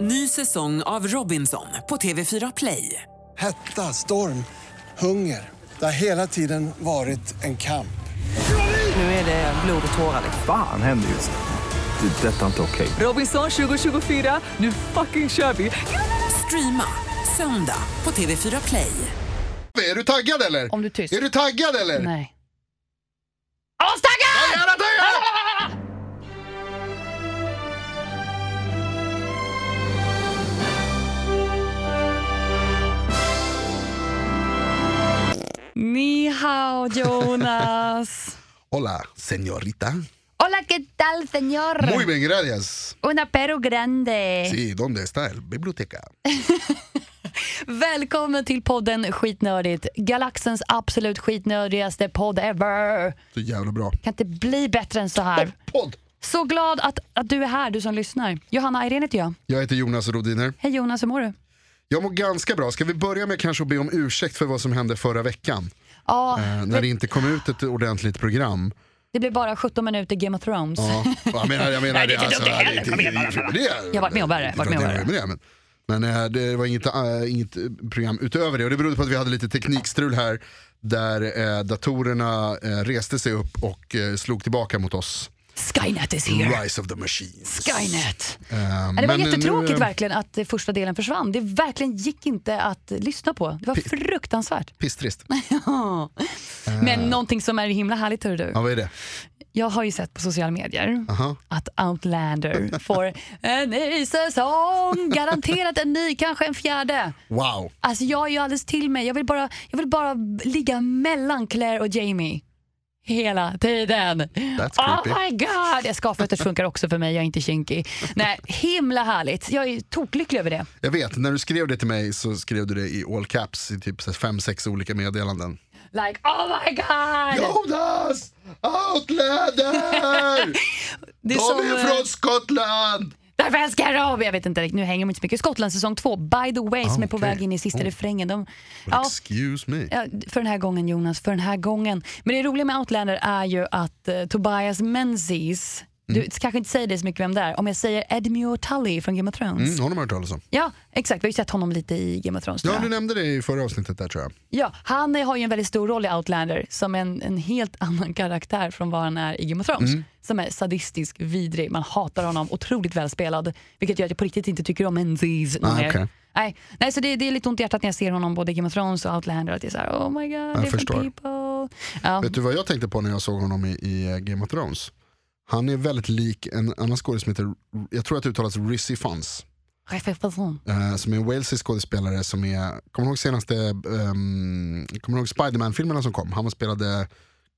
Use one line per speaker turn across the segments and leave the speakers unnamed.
Ny säsong av Robinson på TV4 Play.
Hetta, storm, hunger. Det har hela tiden varit en kamp.
Nu är det blod och tårar. liksom.
Fan händer just nu. Det. är Detta är inte okej.
Robinson 2024, nu fucking kör vi! Streama söndag på TV4 Play.
Är du taggad eller?
Om du är tyst.
Är du taggad eller?
Nej.
Jag är jävla taggad!
Ni hao Jonas.
Hola, señorita.
Hola, ¿qué tal, señor?
Muy bien, gracias.
Una pero grande.
Sí, ¿dónde está el biblioteca?
Välkommen till podden Skitnördigt. Galaxens absolut skitnördigaste podd ever.
Så jävla bra.
Kan inte bli bättre än så här.
Podd!
Så glad att, att du är här, du som lyssnar. Johanna Irene heter jag.
Jag heter Jonas Rodiner.
Hej Jonas, hur mår du?
Jag mår ganska bra. Ska vi börja med kanske att be om ursäkt för vad som hände förra veckan?
Ja,
Eh, när det inte kom ut ett ordentligt program.
det blev bara 17 minuter Game of Thrones.
Ja, jag menar, jag menar alltså,
Nej, det är inte dumt det heller. Kom igen, bara, bara. Jag har varit med om värre, varit med om värre.
det, men, men eh, det var inget, eh, inget eh, program utöver det och det berodde på att vi hade lite teknikstrul här där eh, datorerna eh, reste sig upp och eh, slog tillbaka mot oss.
Skynet is here.
Rise of the machines.
Skynet.
Eh,
Ja, det var
men, eh,
jättetråkigt
nu, eh,
verkligen att eh, första delen försvann. Det verkligen gick inte att eh, lyssna på. Det var fruktansvärt.
Pisstrist.
Ja. Men någonting som är himla härligt hör du.
Eh. Ja, vad är det?
Jag har ju sett på sociala medier
Aha.
att Outlander får en ny säsong. Garanterat en ny, kanske en fjärde.
Wow.
Alltså jag är ju alldeles till mig. Jag vill bara, jag vill bara ligga mellan Claire och Jamie. Hela tiden.
That's
Oh
creepy.
my god! Skavfötters funkar också för mig, jag är inte kinky. Nej, himla härligt. Jag är toklycklig över det.
Jag vet, när du skrev det till mig så skrev du det i all caps i typ 5-6 olika meddelanden.
Like, oh my god!
Jonas! Outlander!
det
De är
eh,
från Skottland!
Därför älskar jag Rob! Jag vet inte, riktigt, nu hänger de inte så mycket. Skottland säsong två, by the way, som är på
okej.
väg in i sista
Oh.
refrängen. De, ja,
Excuse me.
ja, för den här gången Jonas, för den här gången. Men det roliga med Outlander är ju att eh, Tobias Menzies,
Mm.
du kanske inte säger det så mycket vem det är, om jag säger Edmure Tully från Game of Thrones.
Mm, honom har jag hört talas om.
Ja, exakt. Vi har ju sett honom lite i Game of Thrones. tror
Ja,
jag.
du nämnde det i förra avsnittet där tror jag.
Ja, han eh, har ju en väldigt stor roll i Outlander som en, en helt annan karaktär från vad han är i Game of Thrones.
Mm.
Som är sadistisk, vidrig, man hatar honom, otroligt välspelad. Vilket gör att jag på riktigt inte tycker om Menzies
Ah,
mer.
okej.
Nej, nej, så det, det är lite ont i hjärtat när jag ser honom både i Game of Thrones och Outlander. Att det är så här, oh my god, different
förstår.
people. Ja.
Vet du vad jag tänkte på när jag såg honom i, i eh, Game of Thrones? Han är väldigt lik en annan skådespelare som heter, jag tror att det uttalas Rizzy Fons.
Reflection.
Eh, som är en walesisk skådespelare som är, kommer du ihåg senaste, ehm, kommer du ihåg Spiderman-filmerna som kom? Han spelade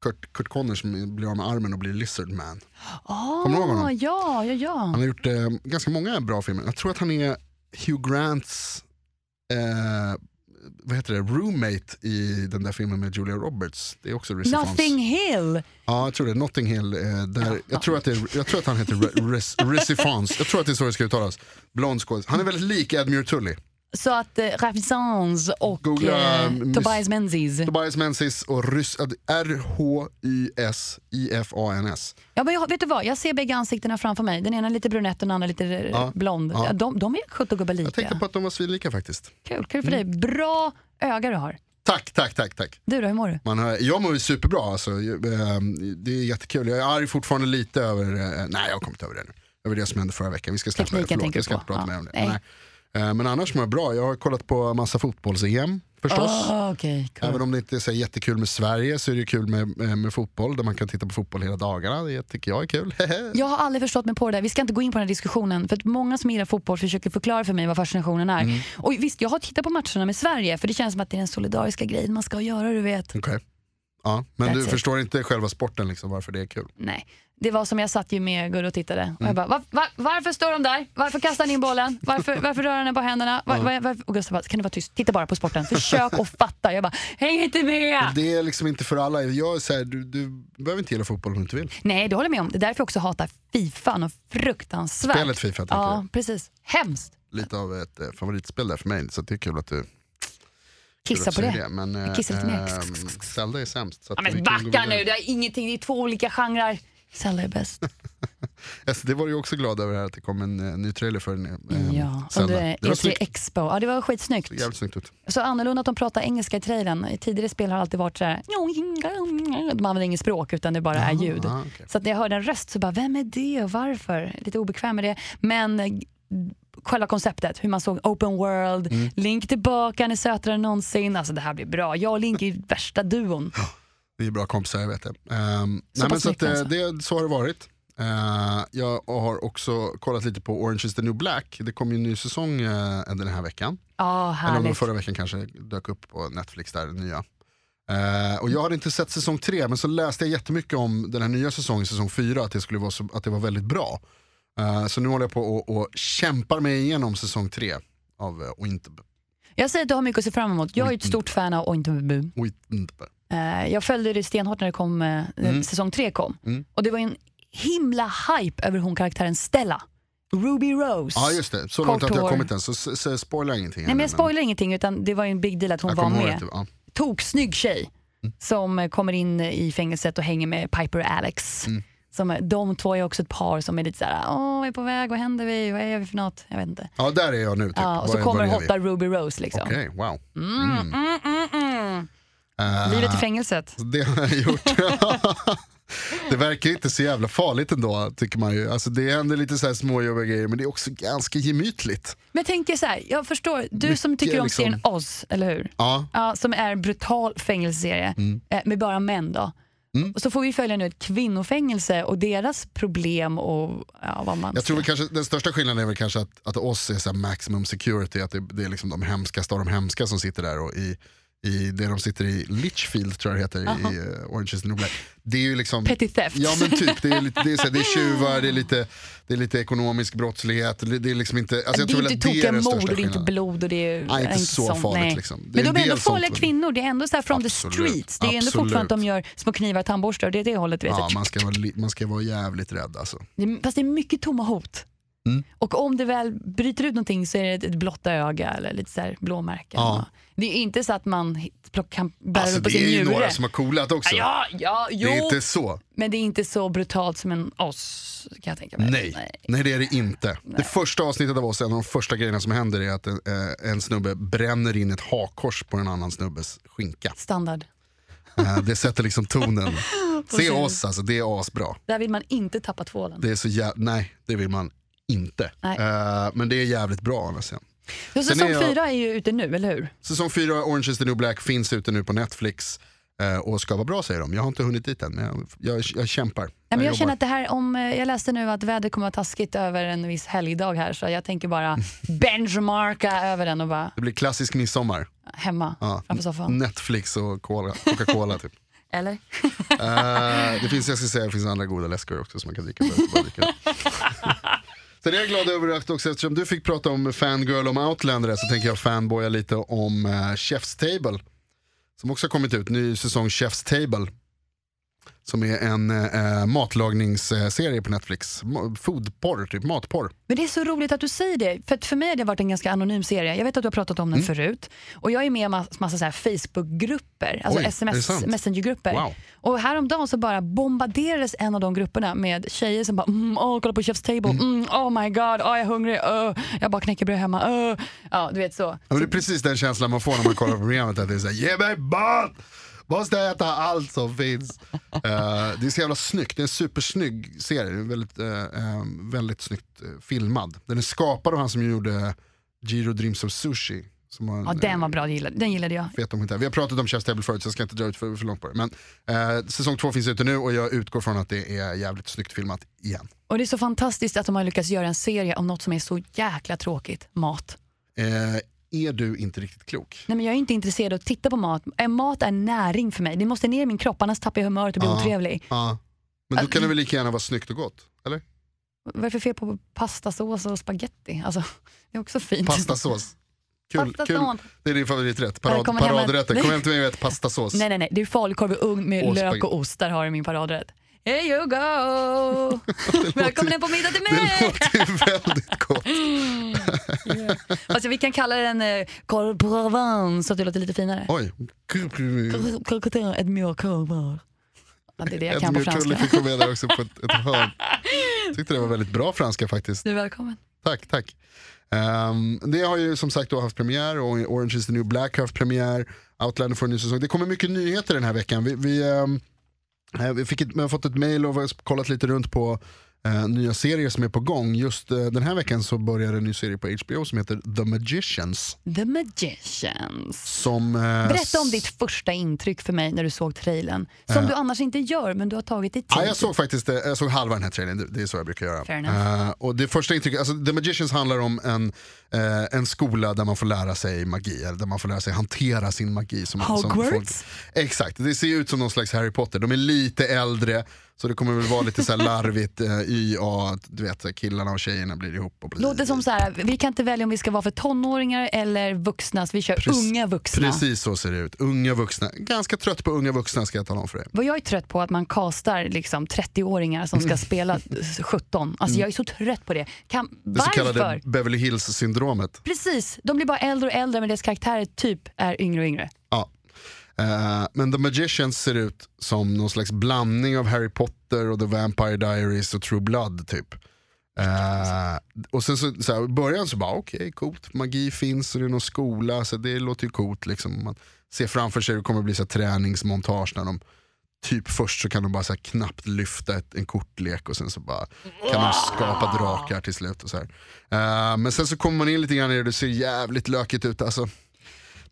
Kurt, Kurt Connor som blir av med armen och blir Lizardman. Kommer du ihåg
Ah,
honom?
ja, ja, ja.
Han har gjort eh, ganska många bra filmer. Jag tror att han är Hugh Grants eh, vad heter det? roommate i den där filmen med Julia Roberts. Det är också Rizzy Fons.
Nothing Hill.
Ja, jag tror det. Notting Hill. Eh, där, jag, tror att det är, jag tror att han heter Re- Riz- Rizzy Fons. Jag tror att det är så det ska uttalas. Blond skådis. Han är väldigt lik Edmure Tully.
Så att eh, Raffisans och
Googla,
eh,
miss-
Tobias Menzies.
Tobias Menzies och Rys- äh, R-H-Y-S-I-F-A-N-S.
Ja, men jag, vet du vad? Jag ser bägge ansiktena framför mig. Den ena är lite brunett och den andra lite eh,
Ja,
blond.
ja.
Ja, de, de är sjutton
Jag tänkte
lika.
på att Mm. de var svinlika faktiskt.
Kul, kul för dig. Bra öga du har.
Tack, tack, tack. tack.
Du då, hur mår du?
Man hör, jag mår ju superbra alltså. Jag- eh, Det är jättekul. Jag är arg fortfarande lite över, eh, nej jag har kommit över det nu. Över det som hände förra veckan. Vi ska släppa det,
Tekniken
förlåt.
tänker
Jag ska
du
inte
på.
prata
Ja,
mer om det.
nej.
Nej. Eh, Men annars mår jag bra. Jag har kollat på massa fotbolls-EM förstås.
Ah. Okej,
Även om det inte är så här jättekul med Sverige så är det ju kul med, med, med fotboll där man kan titta på fotboll hela dagarna. Det tycker jag är kul.
Jag har aldrig förstått mig på det där. Vi ska inte gå in på den här diskussionen. För att många som gillar fotboll försöker förklara för mig vad fascinationen är.
Mm.
Och visst, jag har tittat på matcherna med Sverige för det känns som att det är den solidariska grejen man ska göra, du vet.
Okej. Ja, men
That's
du
it.
förstår inte själva sporten liksom, varför det är kul.
Nej. Det var som jag satt ju med Gurra och tittade. Och jag
Mm.
bara, va, va, varför står de där? Varför kastar ni in bollen? Varför, varför rör han den på händerna? Var, var, varför? Och Gustav bara, kan du vara tyst? Titta bara på sporten. Försök att fatta. Jag bara, häng inte med!
Det är liksom inte för alla. Jag är så här, du, du behöver inte gilla fotboll om du inte vill.
Nej, det håller jag med om. Det är därför jag också hatar Fifa. Något fruktansvärt.
Spelet Fifa tänker
Ja, precis. Hemskt.
jag. Lite av ett eh, favoritspel där för mig, så det är kul att du kul
Kissa
att
på
du
det.
säger Men eh,
kissar lite mer.
eh, Zelda är sämst. Så
Ja,
att vi
men
kan gå
backa
vidare.
nu, det är ingenting. Det är två olika genrer. Zelda är bäst.
Alltså, det var du ju också glad över här, att det kom en eh, ny trailer för en, eh,
Ja,
Zelda.
under
Det
E3
var snyggt.
Expo. Ja, det var skitsnyggt.
Såg jävligt snyggt ut.
Så annorlunda att de pratar engelska i trailern. I tidigare spel har det alltid varit så här. De använder inget språk utan det bara är ljud.
Ah, okej.
Så att när jag hörde en röst så bara, vem är det och varför? Lite obekväm med det. Men eh, själva konceptet, hur man såg open world,
Mm.
Link tillbaka, han är sötare än någonsin. Alltså det här blir bra. Jag och Link är ju värsta duon.
Vi är bra kompisar, jag vet det. Ehm, nej, men
pass
så, att,
mycket
eh,
alltså.
det, så har det varit. Eh, jag har också kollat lite på Orange is the new black. Det kom ju en ny säsong eh, den här veckan.
Ja,
Eller om det var
härligt.
förra veckan kanske dök upp på Netflix där, den nya. Eh, och jag hade inte sett säsong tre men så läste jag jättemycket om den här nya säsongen, säsong fyra, att det, skulle vara så, att det var väldigt bra. Eh, så nu håller jag på och, och kämpar mig igenom säsong tre av uh, Winterb.
Jag säger att du har mycket att se fram emot. Jag är ju
Mm.
ett stort fan av Ointabu.
Winterb.
Eh, Jag följde det stenhårt när det kom, eh, när
Mm.
säsong tre kom. Och det var ju en himla hype över hon karaktären Stella. Ruby Rose.
Ja just det, så
Kort
långt att jag
hår.
har kommit än, så s- s- spoila ingenting.
Nej
ännu,
men jag spoilar ingenting utan det var ju en big deal att hon
jag
var
kommer ihåg
med.
att det- Mm. ja.
toksnygg tjej som eh, kommer in i fängelset och hänger med Piper och Alex.
Mm.
Som, de två är också ett par som är lite såhär, åh, vad är på väg, vad händer vi, vad är vi för något? Jag vet inte.
Ja, där är jag nu. Typ.
Ja, och så
Var är-
kommer
var är vi?
hotta Ruby Rose liksom.
Okej, wow.
Mm, mm, mm, mm.
Eh.
Livet i fängelset.
Så det har jag gjort. det verkar inte så jävla farligt ändå, tycker man ju. Alltså, det händer lite så här småjobbiga grejer, men det är också ganska gemytligt.
Men jag tänker så här, jag förstår, du som
Mycket
tycker om
liksom-
serien Oz, eller hur?
Ja, Mm.
Ja, som är en brutal fängelseserie eh, med bara män då. Och Så får vi följa nu ett kvinnofängelse och deras problem och ja, vad man
jag tror väl kanske, den största skillnaden är väl kanske att, att oss är så här maximum security, att det, det är liksom de hemskaste av de hemska som sitter där. Och i, i det de sitter i, Litchfield tror jag det heter, i eh, Orange is the new black. Det är ju liksom...
Petty theft.
Ja men typ, det är, lite, det är, så här, det är tjuvar, det är, lite, det är lite ekonomisk brottslighet. Det det är liksom inte, alltså jag
det
tror
är
väl
inte
att det
tokiga
är den
mord
största
och det är inte
skillnaden.
blod och det är
Nej, inte så farligt liksom. Det
Men
är
de
en
är
del
ändå
sånt,
farliga
men-
kvinnor, det är ändå så här from the
Absolut,
streets. Det är ändå
absolut.
fortfarande att de gör små knivar och tandborstar och det är det hållet. Du vet.
Ja, man, ska vara li- man ska vara jävligt rädd alltså.
Det- Fast det är mycket tomma hot.
Mm.
Och om det väl bryter ut någonting så är det ett- ett blotta öga eller lite så här blåmärken.
Ja.
Det är inte så att man hit- plock- kan bära
alltså
upp på
det är
sin
ju några
njure.
som har coolat också.
Ja, ja, jo.
Det är inte så.
Men det är inte så brutalt som en oss kan jag tänka mig.
Nej. Nej. det är det inte. Det första avsnittet av oss, en av de första grejerna som händer är att en, eh, en snubbe bränner in ett hakkors på en annan snubbes skinka.
Standard.
Eh, Det sätter liksom tonen. Se oss alltså, det är asbra.
Där vill man inte tappa tvålen.
Det är så jä- Nej, det vill man inte.
Nej.
Eh, Men det är jävligt bra annars. Ja.
Ja,
Sen
säsong
är jag-
fyra är ju ute nu, eller hur?
Säsong 4 Orange is the new black finns ute nu på Netflix eh, och ska vara bra säger de. Jag har inte hunnit dit än, men jag, jag, jag kämpar.
Nej, men jag
jobbar.
känner att det här, om, eh, jag läste nu att vädret kommer att vara taskigt över en viss helgdag här så jag tänker bara benchmarka över den och bara
Det blir klassisk midsommar.
hemma
Ja.
framför soffan.
Netflix och Cola, Coca-Cola typ.
Eller?
Eh, det finns, jag ska säga, det finns andra goda läskor också som man kan dricka. Så bara dricka. Sen är jag glad över att också, eftersom du fick prata om fangirl om Outlander så tänker jag fanboya lite om eh, Chef's Table. Som också har kommit ut, ny säsong Chef's Table. Som är en eh, matlagningsserie på Netflix. Ma- Foodporr, typ matporr.
Men det är så roligt att du säger det, för att för mig har det varit en ganska anonym serie. Jag vet att du har pratat om den
Mm.
förut. Och jag är med i massa, massa så här Facebookgrupper, alltså
Oj, är det
sms,
sant?
messengergrupper.
Wow.
Och häromdagen så bara bombarderades en av de grupperna med tjejer som bara mm, åh, kolla på Chef's Table, mm, oh my god, åh, jag är hungrig, öh, jag bara knäckebröd hemma, öh. Ja, du vet så.
Ja, men det är precis den känslan man får när man kollar på programmet. Att det är såhär, ge mig mat! Måste äta allt som finns. Eh, det är så jävla snyggt, det är en supersnygg serie. Den är väldigt, eh, eh, väldigt snyggt eh, filmad. Den är skapad av han som gjorde Giro Dreams of Sushi. Som var en,
Ja, den var bra, den gillade, den gillade jag.
eh, fet om inte. Vi har pratat om Chef's Table förut så jag ska inte dra ut för, för långt på det. Men eh, säsong två finns ute nu och jag utgår från att det är jävligt snyggt filmat igen.
Och det är så fantastiskt att de har lyckats göra en serie om något som är så jäkla tråkigt, mat.
Eh, är du inte riktigt klok?
Nej men jag är inte intresserad av att titta på mat. Eh, Mat är näring för mig. Det måste ner i min kropp annars tappar jag humöret och blir
Ja.
otrevlig.
Ja. Men då kan det väl lika gärna vara snyggt och gott? Eller?
Vad är det för fel på pastasås och spaghetti? Alltså, det är också fint.
Pastasås. Kul,
Pastasås.
kul. Det är din favoriträtt,
Jag
Parad,
kommer hem med-
paradrätten. Kom hem till mig och ät pastasås.
Nej nej nej, det är falukorv i ugn med
Och
lök
spaghetti.
och ost. Där har du min paradrätt. Here you go! Välkommen hem på middag till
Det
mig!
låter ju väldigt gott.
Alltså, vi kan kalla den eh, korv provence så att det låter lite finare.
Oj.
Croquetin, ett mjölkkorvar. Ja, det är det jag kan på
Edmure Tully
franska.
fick vara med där också på ett, ett hörn. Tyckte det var väldigt bra franska faktiskt.
Du är välkommen.
Tack, tack. Ehm, det har ju som sagt då haft premiär och Orange is the new black har haft premiär. Outlander får en ny säsong. Det kommer mycket nyheter den här veckan. Vi, vi, ehm, eh, vi, fick ett, vi har fått ett mail och vi har kollat lite runt på eh, nya serier som är på gång. Just eh, den här veckan så börjar en ny serie på HBO som heter The Magicians.
The Magicians.
Som, eh,
Berätta om ditt första intryck för mig när du såg trailern. Som du annars inte gör, men du har tagit dig tid.
Ja, jag såg faktiskt eh, jag såg halva den här trailern, det, det är så jag brukar göra.
Fair enough.
Eh, och det första intrycket, alltså The Magicians handlar om en, eh, en skola där man får lära sig magi, eller där man får lära sig hantera sin magi. Som, Som
Hogwarts?
folk, exakt, det ser ut som någon slags Harry Potter. De är lite äldre, så det kommer väl vara lite så här larvigt, eh, YA, du vet så här, killarna och tjejerna blir ihop. Och blir,
Låter som så här, vi kan inte välja om vi ska vara för tonåringar eller vuxna, så vi kör
Precis-
unga vuxna.
Precis så ser det ut, unga vuxna. Ganska trött på unga vuxna ska jag tala om för dig.
Vad jag är trött på är att man kastar liksom 30-åringar som ska spela 17. Alltså jag är så trött på det. Kan,
Mm. Det så
varför?
kallade Beverly Hills-syndromet.
Precis, de blir bara äldre och äldre men deras karaktärer typ är yngre och yngre.
Ja. Eh, men The Magicians ser ut som någon slags blandning av Harry Potter och The Vampire Diaries och True Blood typ. Eh, och sen så, så här, i början så bara okej coolt, magi finns och det är någon skola så det låter ju coolt liksom. Man ser framför sig hur det kommer bli så här, träningsmontage när de typ först så kan de bara så här, knappt lyfta ett, en kortlek och sen så bara kan de skapa drakar till slut och så här. Eh, men sen så kommer man in lite grann i det och det ser jävligt lökigt ut alltså.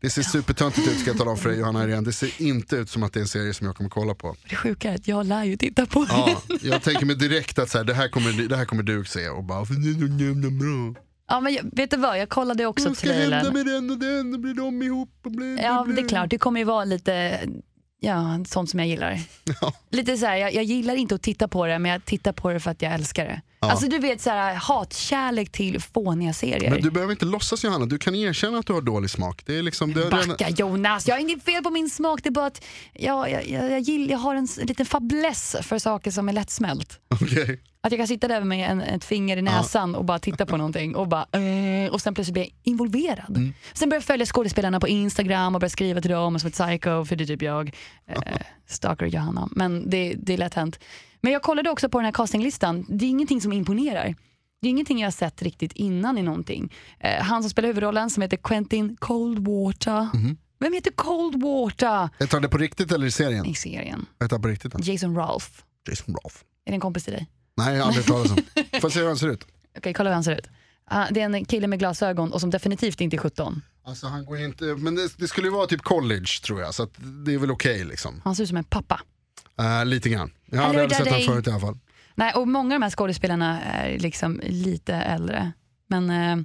Det ser supertöntigt ut ska jag tala om för dig Johanna Irene. Det ser inte ut som att det är en serie som jag kommer kolla på.
Det sjuka är att jag lär ju titta på det.
Ja, jag tänker mig direkt att så här, det, här kommer, det här kommer du se och bara, för det är så jävla bra.
Ja, men jag, vet du vad, jag kollade också
Vad ska hända
trailern.
med den och den? Då blir de ihop och blir,
Ja, men det är klart, det kommer ju vara lite ja, sånt som jag gillar.
Ja.
Lite så här, jag, jag gillar inte att titta på det men jag tittar på det för att jag älskar det. Alltså du vet så här, hatkärlek till fåniga serier.
Men du behöver inte låtsas Johanna, du kan erkänna att du har dålig smak. Det är liksom, det är redan-
Backa Jonas, jag har inget fel på min smak. Det är bara att jag, jag, jag, jag, gill, jag har en s- liten fabless för saker som är lättsmält.
Okej.
Att jag kan sitta där med en, ett finger i näsan och bara titta på någonting och, bara, eh, och sen plötsligt bli involverad. Sen börjar jag följa skådespelarna på Instagram och börjar skriva till dem som ett psycho, för det är typ jag. Eh, stalker Johanna, men det, det är lätt hänt. Men jag kollade också på den här castinglistan, det är ingenting som imponerar. Det är ingenting jag har sett riktigt innan i någonting. Eh, han som spelar huvudrollen som heter Quentin Coldwater. Vem heter Coldwater
Jag tar det på riktigt eller i serien?
i serien?
Jag tar på riktigt. den.
Jason Ralph.
Jason Rolf.
Är det en kompis till dig?
Nej, jag har aldrig hört talas om. Får se hur han ser ut.
Okej, kolla hur han ser ut. Ah, det är en kille med glasögon och som definitivt inte är 17.
Alltså han går ju inte, men det, det skulle ju vara typ college tror jag, så att det är väl okej liksom.
Han ser ut som en pappa.
Eh, lite grann. Jag har
Hello,
aldrig sett honom
darling.
förut i alla fall.
Nej, och många av de här skådespelarna är liksom lite äldre. Men eh,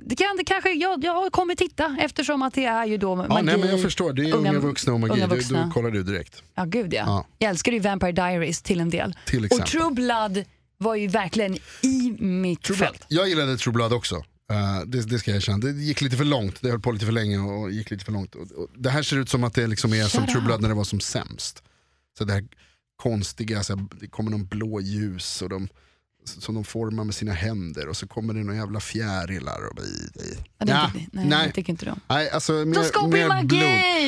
det kan, det kanske, jag, jag kommer titta eftersom att det är ju då
Ja, nej, men jag förstår, det är unga,
unga-
vuxna och magi.
unga
Du,
vuxna.
du kollar du direkt.
Ja, gud ja.
Ja.
Jag älskar ju Vampire Diaries till en del.
Till
och
exempel.
True Blood var ju verkligen i mitt fält.
Jag gillade True Blood också. Eh, det, det ska jag erkänna. Det gick lite för långt, det höll på lite för länge och gick lite för långt. Och, och, det här ser ut som att det liksom är som
Shut
True
up.
Blood när det var som sämst. Så det här konstiga, så här, det kommer någon blå ljus och de, som de formar med sina händer och så kommer det någon jävla fjärilar. Och,
Ja, det
Ja,
tyckte- nej,
nej.
jag tycker inte de.
Nej, alltså mer,
skapar ju
mer
magi!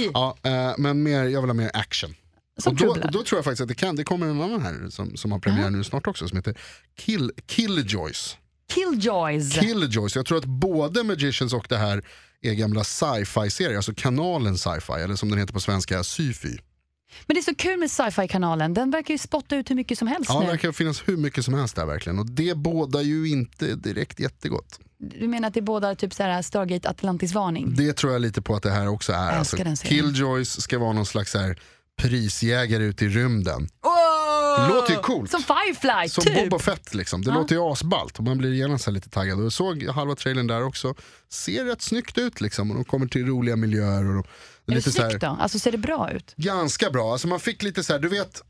blod. Ja, eh, men mer, jag vill ha mer action.
Som
och
True
då,
Blood.
då tror jag faktiskt att det kan, det kommer en annan här som, som har premiär nu snart också som heter Kill, Killjoys.
Killjoys.
Killjoys, jag tror att både Magicians och det här är gamla sci-fi-serier, alltså kanalen sci-fi, eller som den heter på svenska, syfy.
Men det är så kul med sci-fi-kanalen. Den verkar ju spotta ut hur mycket som helst
Ja,
nu.
det kan finnas hur mycket som helst där verkligen och det båda ju inte direkt jättegott.
Du menar att det är båda typ så här Stargate Atlantis-varning?
Det tror jag lite på att det här också är.
älskar
Alltså,
den serien.
Killjoys ska vara någon slags så här prisjägare ute i rymden.
Oh!
Låter ju coolt.
Som Firefly,
Som
typ!
Boba Fett liksom. Det låter ju asballt och man blir genast så här lite taggad. Och jag såg halva trailern där också. Ser rätt snyggt ut liksom och de kommer till roliga miljöer. Och de,
är det
lite så här,
snyggt då? Alltså ser det bra ut?
ganska bra. Alltså man fick lite så här, du vet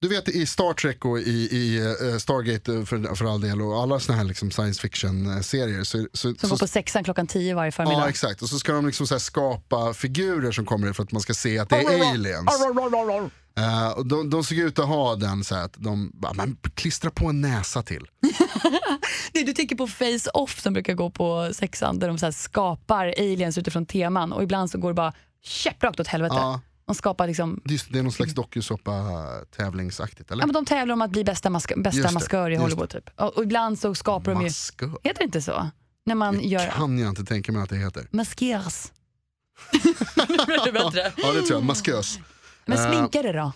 du vet i Star Trek och i, i eh, Stargate eh, för, för all del och alla såna här liksom science fiction-serier. Så, så,
Som
så,
går på sexan klockan tio varje förmiddag.
ja, exakt. Och så ska de liksom så här skapa figurer som kommer för att man ska se att det är aliens. Eh, och de, de såg ut att ha den så här att de bara, man klistrar på en näsa till.
Nej, du tänker på Face-Off som brukar gå på sexan där de så här skapar aliens utifrån teman och ibland så går det bara käpprakt åt helvete.
Ja,
De skapar liksom...
Just det, det är någon slags dokusåpa-tävlingsaktigt, eller?
Ja, men de tävlar om att bli bästa, mask-
Just
bästa
det,
maskör i
just
Hollywood. Typ. Och, och ibland så skapar de ju...
Maskör?
Heter det inte så? När man
Det
gör
kan jag inte tänka mig att det heter.
maskeras. det blir bättre.
Ja, det tror jag. Maskös.
Men
Äh.
sminkare då?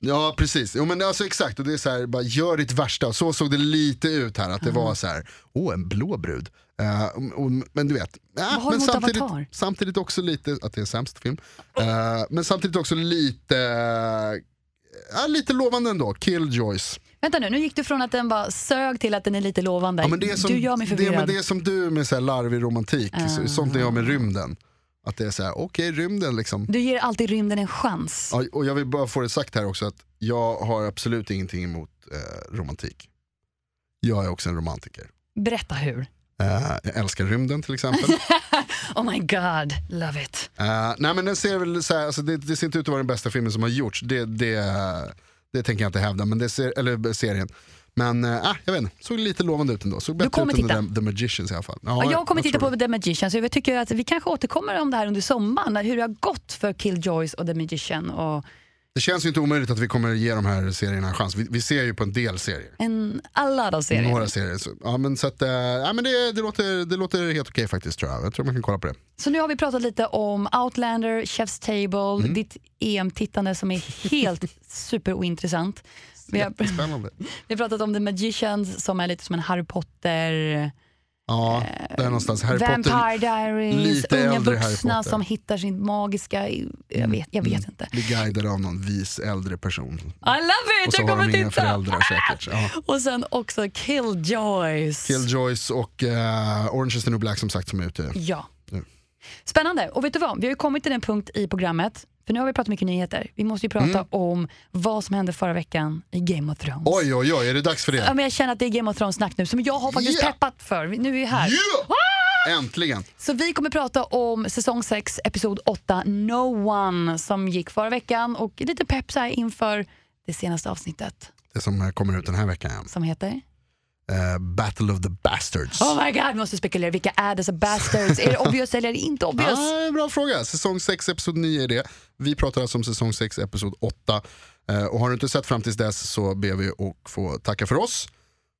Ja, precis. Jo, men alltså, exakt. Och det är så här, bara, gör ditt värsta. Så såg det lite ut här, att det var så här, åh, en blå brud. Eh, och, men du vet, äh,
har du
men
mot
samtidigt,
Avatar?
samtidigt också lite, att det är en sämst film, Eh, men samtidigt också lite, eh, lite lovande ändå, Killjoys.
Vänta nu, nu gick du från att den var sög till att den är lite lovande.
Ja, men det är som,
du gör mig
det,
förvirrad. Ah.
men det är som du med så här larvig romantik, så, sånt är jag med rymden. Att det är så här, okej rymden liksom.
Du ger alltid rymden en chans.
Ja, och jag vill bara få det sagt här också att jag har absolut ingenting emot eh, romantik. Jag är också en romantiker.
Berätta hur.
Eh, jag älskar rymden till exempel.
Oh my god, love it.
Eh, nej men den ser väl så här, alltså det, det ser inte ut att vara den bästa filmen som har gjorts. Det, det, eh, det tänker jag inte hävda, men det ser, eller serien. Men eh, ah, jag vet inte, såg lite lovande ut ändå. Såg bättre
kommer
ut än
titta.
The, The Magicians i alla fall.
Ja, jag kommer titta
tror
på The Magician, så jag tycker att vi kanske återkommer om det här under sommaren, hur det har gått för Killjoys och The Magician. Och
Det känns ju inte omöjligt att vi kommer ge de här serierna en chans. Vi, vi ser ju på en del serier.
en, alla de serier.
Några serier. Så, ja, men så att, eh, ja, men det, det, låter, det låter helt okej faktiskt tror jag. Jag tror man kan kolla på det.
Så nu har vi pratat lite om Outlander, Chef's Table,
Mm.
ditt EM-tittande som är helt superointressant. Vi har,
Spännande.
vi har pratat om The Magicians som är lite som en Harry Potter...
Ja,
Eh,
där någonstans. Harry
Vampire
Potter
Diaries,
lite
unga
äldre Harry
vuxna
Potter. Mm.
som hittar sin magiska... Jag vet, jag vet inte.
blir guidad av någon vis äldre person.
I love
Och
it!
så
Jag
har
kommer
de inga
titta!
föräldrar säkert. Ja.
Och sen också Killjoys.
Killjoys och eh, Orange is the new black som sagt som är ute.
Ja.
Mm.
Spännande. Och vet du vad? Vi har ju kommit till den punkt i programmet, för nu har vi pratat mycket nyheter. Vi måste ju prata om vad som hände förra veckan i Game of Thrones.
Mm. Oj oj oj, är det dags för det?
Ja, men jag känner att det är Game of Thrones-snack nu, som jag har faktiskt
Yeah.
peppat för. Nu är vi här.
Yeah! Äntligen!
Så vi kommer prata om säsong 6, episod 8, No One, som gick förra veckan och lite pepp så här inför det senaste avsnittet
Det som eh, kommer ut den här veckan.
som heter...
Eh, Battle of the Bastards.
Oh my god, vi måste spekulera. Vilka är dessa bastards? är det obvious eller är det inte obvious?
Ah, bra fråga. Säsong 6, episod 9 är det. Vi pratar alltså om säsong 6, episod 8. Eh, och har du inte sett fram tills dess så ber vi att få tacka för oss.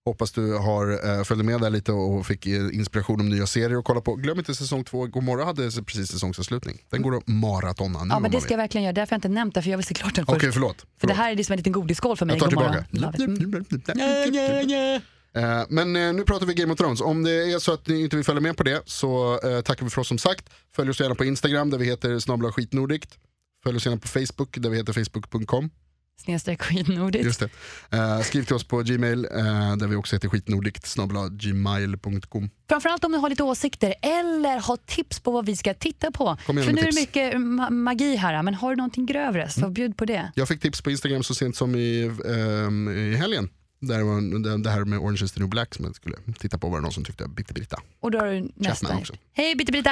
Hoppas du har eh, följde med där lite och fick eh, inspiration om nya serier att kolla på. Glöm inte säsong 2, Gomorra hade precis säsongsavslutning. Den går att maratona nu
Ja,
om
men
man
det ska
vill.
jag ververkligen göra. Därför har jag inte nämnt det, för jag vill se klart den
Mm, Okej,
först.
förlåt.
För det
förlåt.
här är liksom en liten godisskål för mig.
Jag tar
God
tillbaka. Mm.
morgon. Love it. Mm.
Eh, Men eh, nu pratar vi Game of Thrones. Om det är så att ni inte vill följa med på det så eh, tackar vi för oss som sagt. Följ oss gärna på Instagram där vi heter snabla skitnordigt. Följ oss gärna på Facebook där vi heter facebook.com.
Snedstreck skitnordigt.
Just det. Eh, Skriv till oss på Gmail eh, där vi också heter skitnordigt snabla gmail.com.
Framförallt om ni har lite åsikter eller har tips på vad vi ska titta på.
Kom igen
För nu
med
är det
tips. Mm.
mycket mm, ma- magi här, men har du någonting grövre så bjud på det.
Jag fick tips på Instagram så sent som i, ehm, i helgen. Där var en- det- det här med Orange is the new black som jag skulle titta på var det någon som tyckte. Bitte Britta.
Och då har du nästa.
också.
Hej Bitte Brita!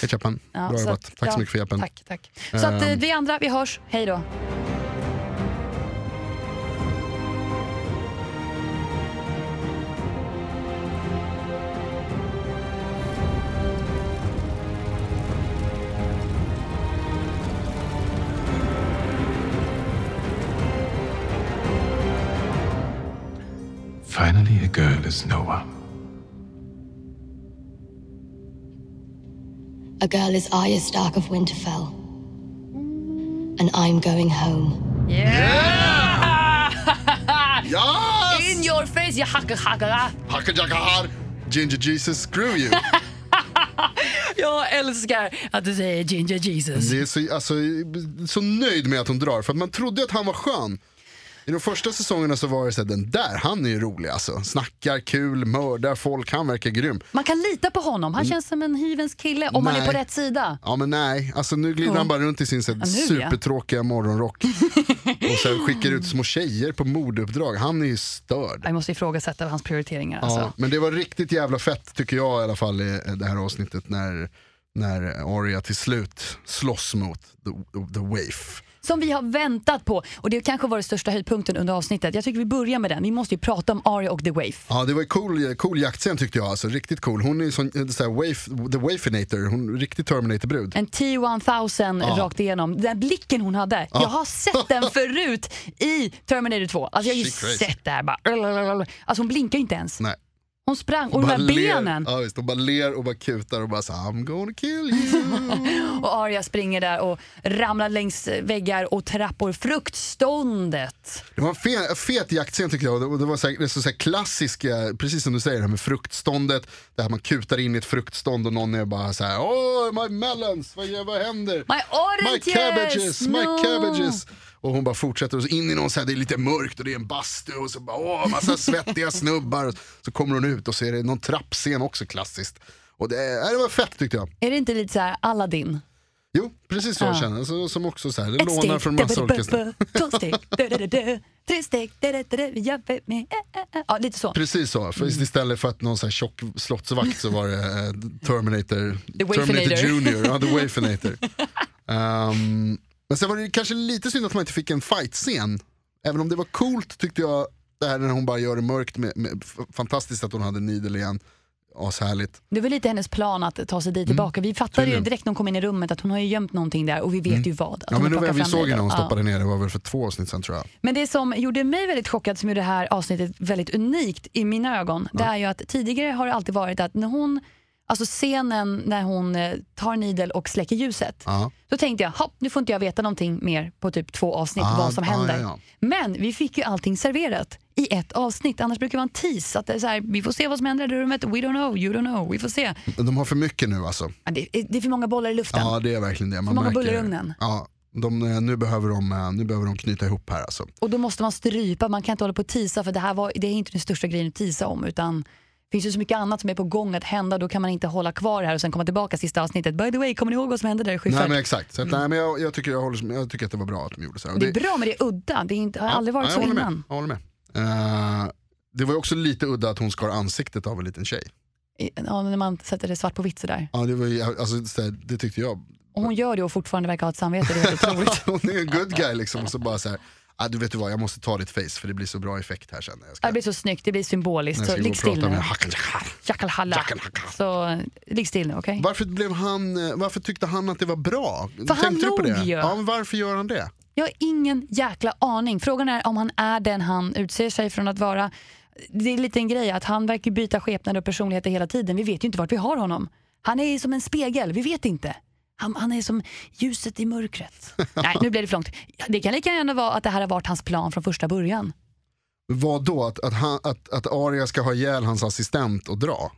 Hej Chapman,
Ja,
bra
så
jobbat.
att-
Tack så
ja,
mycket för hjälpen.
Tack, tack. Så att eh,
Ehm.
vi andra, vi hörs. Hej då.
Finally, a girl is Noah.
A girl is Arya Stark of Winterfell. And I'm going home.
Ja!
In your face, jag hackar, hackar.
Hackajackahar! Ginger Jesus, screw you!
Jag älskar att du säger Ginger Jesus.
Det är så, alltså, så nöjd med att hon drar, för att man trodde att han var skön. I de första säsongerna så var det så här, den där, han är ju rolig alltså. Snackar kul, mördar folk, han verkar grym.
Man kan lita på honom. Han känns som en hyvens kille om han är
Mm. Nej.
på rätt sida.
Ja men nej, alltså nu glider han bara runt i sin så här,
nu, ja.
supertråkiga morgonrock. Och sen skickar ut små tjejer på mordeuppdrag, han är ju störd.
Jag måste ifrågasätta hans prioriteringar.
Ja,
Alltså.
men det var riktigt jävla fett tycker jag i alla fall i det här avsnittet när, när Arya till slut slåss mot The, the Waif.
som vi har väntat på. Och det kanske var den största höjdpunkten under avsnittet. Jag tycker vi börjar med den. Vi måste ju prata om Aria och The Wave.
Ja, det var en cool, cool jaktscen tyckte jag. Alltså, riktigt cool. Hon är sån, eh, så här, wave, the Wafinator, hon är riktig Terminator-brud.
En T-1000 rakt igenom. Den blicken hon hade. Jag har sett den förut i Terminator 2. Alltså jag har ju
She crazy.
sett det här bara. Alltså hon blinkar ju inte ens.
Nej.
Hon sprang och de
Bara
här
ler.
benen.
Ja, visst, hon bara ler och bara kutar och bara så här, I'm gonna kill you.
Och Arya springer där och ramlar längs väggar och trappor. Fruktståndet.
Det var en fet, fet jaktscen tycker jag. Och det- Och det var så här, det är så så här klassiska, precis som du säger, det här med fruktståndet. Det här man kutar in i ett fruktstånd och någon är bara så här, oh my melons, vad, gör- vad händer?
My oranges!
My cabbages, my
No!
cabbages. Och hon bara fortsätter och så in i någon så här, det är lite mörkt och det är en bastu och så bara, åh, massa svettiga snubbar. Så kommer hon ut och så är det någon trappscen också klassiskt. Och det, äh, det var fett tyckte jag.
Är det inte lite så här Aladdin?
Jo, precis så
Ja.
jag känner. Så, som också så här, det
Ett
lånar
steg,
från massa olika ställen.
dubbelbubbel, två steg, dö-dö-dö-dö, tre steg, dö-dö-dö-dö, jag vet mig, eh, eh, eh. Ja, lite så.
Precis så, för
Mm.
istället för att någon så här tjock slottsvakt så var det eh, Terminator,
The
Terminator
Wafinator.
Junior, ja, The Wafinator. Ehm, men sen var det kanske lite synd att man inte fick en fight-scen. Även om det var coolt tyckte jag, det här när hon bara gör det mörkt, med, med, f- fantastiskt att hon hade nidel igen. Ashärligt.
Det var lite hennes plan att ta sig dit tillbaka. Vi fattade ju
Mm. tydligen. Mm.
direkt när hon kom in i rummet att hon har ju gömt någonting där och vi vet ju vad. Att
Ja,
hon
men det
har
var,
plockat fram
vi såg
det.
henne hon
Ja.
stoppade ner, det var väl för två avsnitt sen tror jag.
Men det som gjorde mig väldigt chockad, som gjorde det här avsnittet väldigt unikt i mina ögon, det är ju att tidigare har det alltid varit att när hon, alltså scenen när hon eh, tar Nidel och släcker ljuset,
Ja.
då tänkte jag, hopp, nu får inte jag veta någonting mer på typ två avsnitt
Ah,
vad som
ah,
händer.
ja, ja.
Men vi fick ju allting serverat i ett avsnitt, annars brukar det vara en tease, att det är så här, vi får se vad som händer i det rummet, we don't know, you don't know, vi får se.
De har för mycket nu alltså.
Ja, Det är, det är för många bollar i luften.
Ja det är verkligen det. Man
många
märker-
bullar i ugnen.
Ja, de, eh, nu, behöver de, eh, nu behöver de knyta ihop här alltså.
Och då måste man strypa, man kan inte hålla på och tisa för det här var, det är inte den största grejen att tisa om utan det finns ju så mycket annat som är på gång att hända då kan man inte hålla kvar det här och sen komma tillbaka sista avsnittet. By the way, kommer ni ihåg vad som hände där i
Nej
Schyffert?
men exakt, så att, nej, men jag, jag, tycker jag, håller, jag tycker att det var bra att de gjorde så här. Och
Det är bra men det är udda, det är inte, har aldrig varit
ja,
så
jag håller
innan.
Med, jag håller med. Eh, det var ju också lite udda att hon skar ansiktet av en liten tjej.
I- Ja, när man sätter det svart på vitt sådär.
Ja, det, var ju, alltså, så här, det tyckte jag.
Och hon gör det och fortfarande verkar ha ett samvete, det är helt otroligt.
hon är en good guy liksom. Och så bara så här, ah, du vet du vad, jag måste ta ditt face för det blir så bra effekt här sen. när Jag ska,
Det blir så snyggt, det blir symboliskt.
när
Så
jag
ligg
ska gå och
still
prata med
nu.
Hakan.
Jackalhalla.
Jackalhalla.
Så eh, ligg still nu, okej?
Varför, blev han, eh, varför tyckte han att det var bra?
För han
du på
log
det?
ju.
Ja, men varför gör han det?
Jag har ingen jäkla aning. Frågan är om han är den han utser sig från att vara. Det är lite en grej att han verkar byta skepnad och personligheter hela tiden. Vi vet ju inte vart vi har honom. Han är som en spegel, vi vet inte. Han, han är som ljuset i mörkret. Nej, nu blev det för långt. Det kan lika gärna vara att det här har varit hans plan från första början.
Vad då? Att, att, han, att, att Aria ska ha ihjäl hans assistent och dra?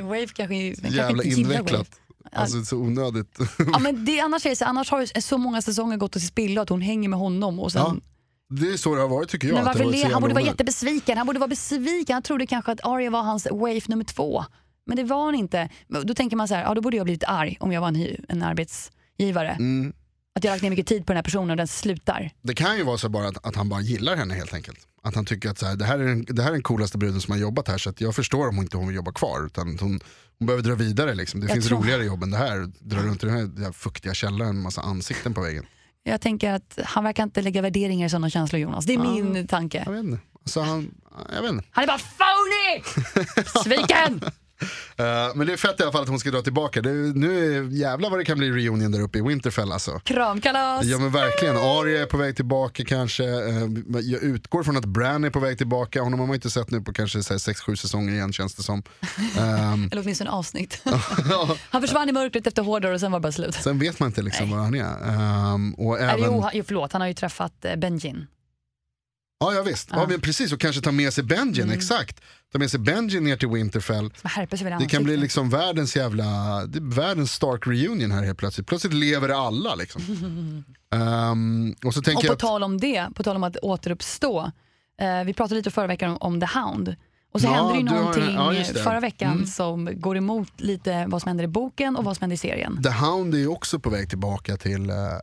Wave kanske,
Jävla invecklat. Alltså så onödigt.
Ja, men det, annars, är det, så- annars har ju så många säsonger gått till spillo att hon hänger med honom. Och sen,
Ja, det är så det har varit tycker jag.
Men
att
varför
det har varit
le?
så
Han
jävla
borde vara
onödigt.
jättebesviken. Han borde vara besviken. Han trodde kanske att Arya var hans wave nummer två. Men det var han inte. Men Då tänker man så här, ja, då borde jag blivit arg om jag var en, hy- en arbetsgivare.
Mm.
Att jag har lagt ner mycket tid på den här personen och den slutar.
Det kan ju vara så bara att, att han bara gillar henne helt enkelt. Att han tycker att så här, det, här är den, det här är den coolaste bruden som har jobbat här så att jag förstår om hon inte hon jobbar kvar. Utan att hon, hon behöver dra vidare liksom. Det
Jag
finns
tror-
roligare jobb än det här. Dra runt i den här, den här fuktiga källaren med massa ansikten på väggen.
Jag tänker att han verkar inte lägga värderingar i sådana känslor Jonas. Det är min tanke.
Jag vet inte. Alltså, han, jag vet inte.
Han är bara phony! Sviken!
Eh, men det är fett i alla fall att hon ska dra tillbaka. Det, är- nu är, jävlar vad det kan bli reunion där uppe i Winterfell alltså.
Kramkalas!
Ja men verkligen, Arya är på väg tillbaka kanske. Eh, Jag utgår från att Bran är på väg tillbaka. Honom har man inte sett nu på kanske 6-7 säsonger igen känns det som. Ehm,
Eller åtminstone avsnitt.
ja,
Han försvann i mörkret efter Hårdor och sen var det bara slut.
Sen vet man inte liksom var han är. Ehm, och
Även...
även,
Jo, han- jo, förlåt, han har ju träffat eh, Benjin.
ja, ja visst, ja, Mm. men precis och kanske ta med sig Benjen, exakt. Ta med sig Benjen ner till Winterfell.
Som härper sig över
Det kan bli
ansiktet.
liksom världens jävla, det är världens Stark reunion här helt plötsligt. Plötsligt lever alla liksom. Ehm, och så
Och
tänker
på
jag att,
tal om det, på tal om att återuppstå. Eh, vi pratade lite förra veckan om, om The Hound. Och så
Ja,
hände det ju
du har-
någonting
ja, just det. Mm.
förra veckan som går emot lite vad som händer i boken och vad som händer i serien.
The Hound är ju också på väg tillbaka till, eh, eh,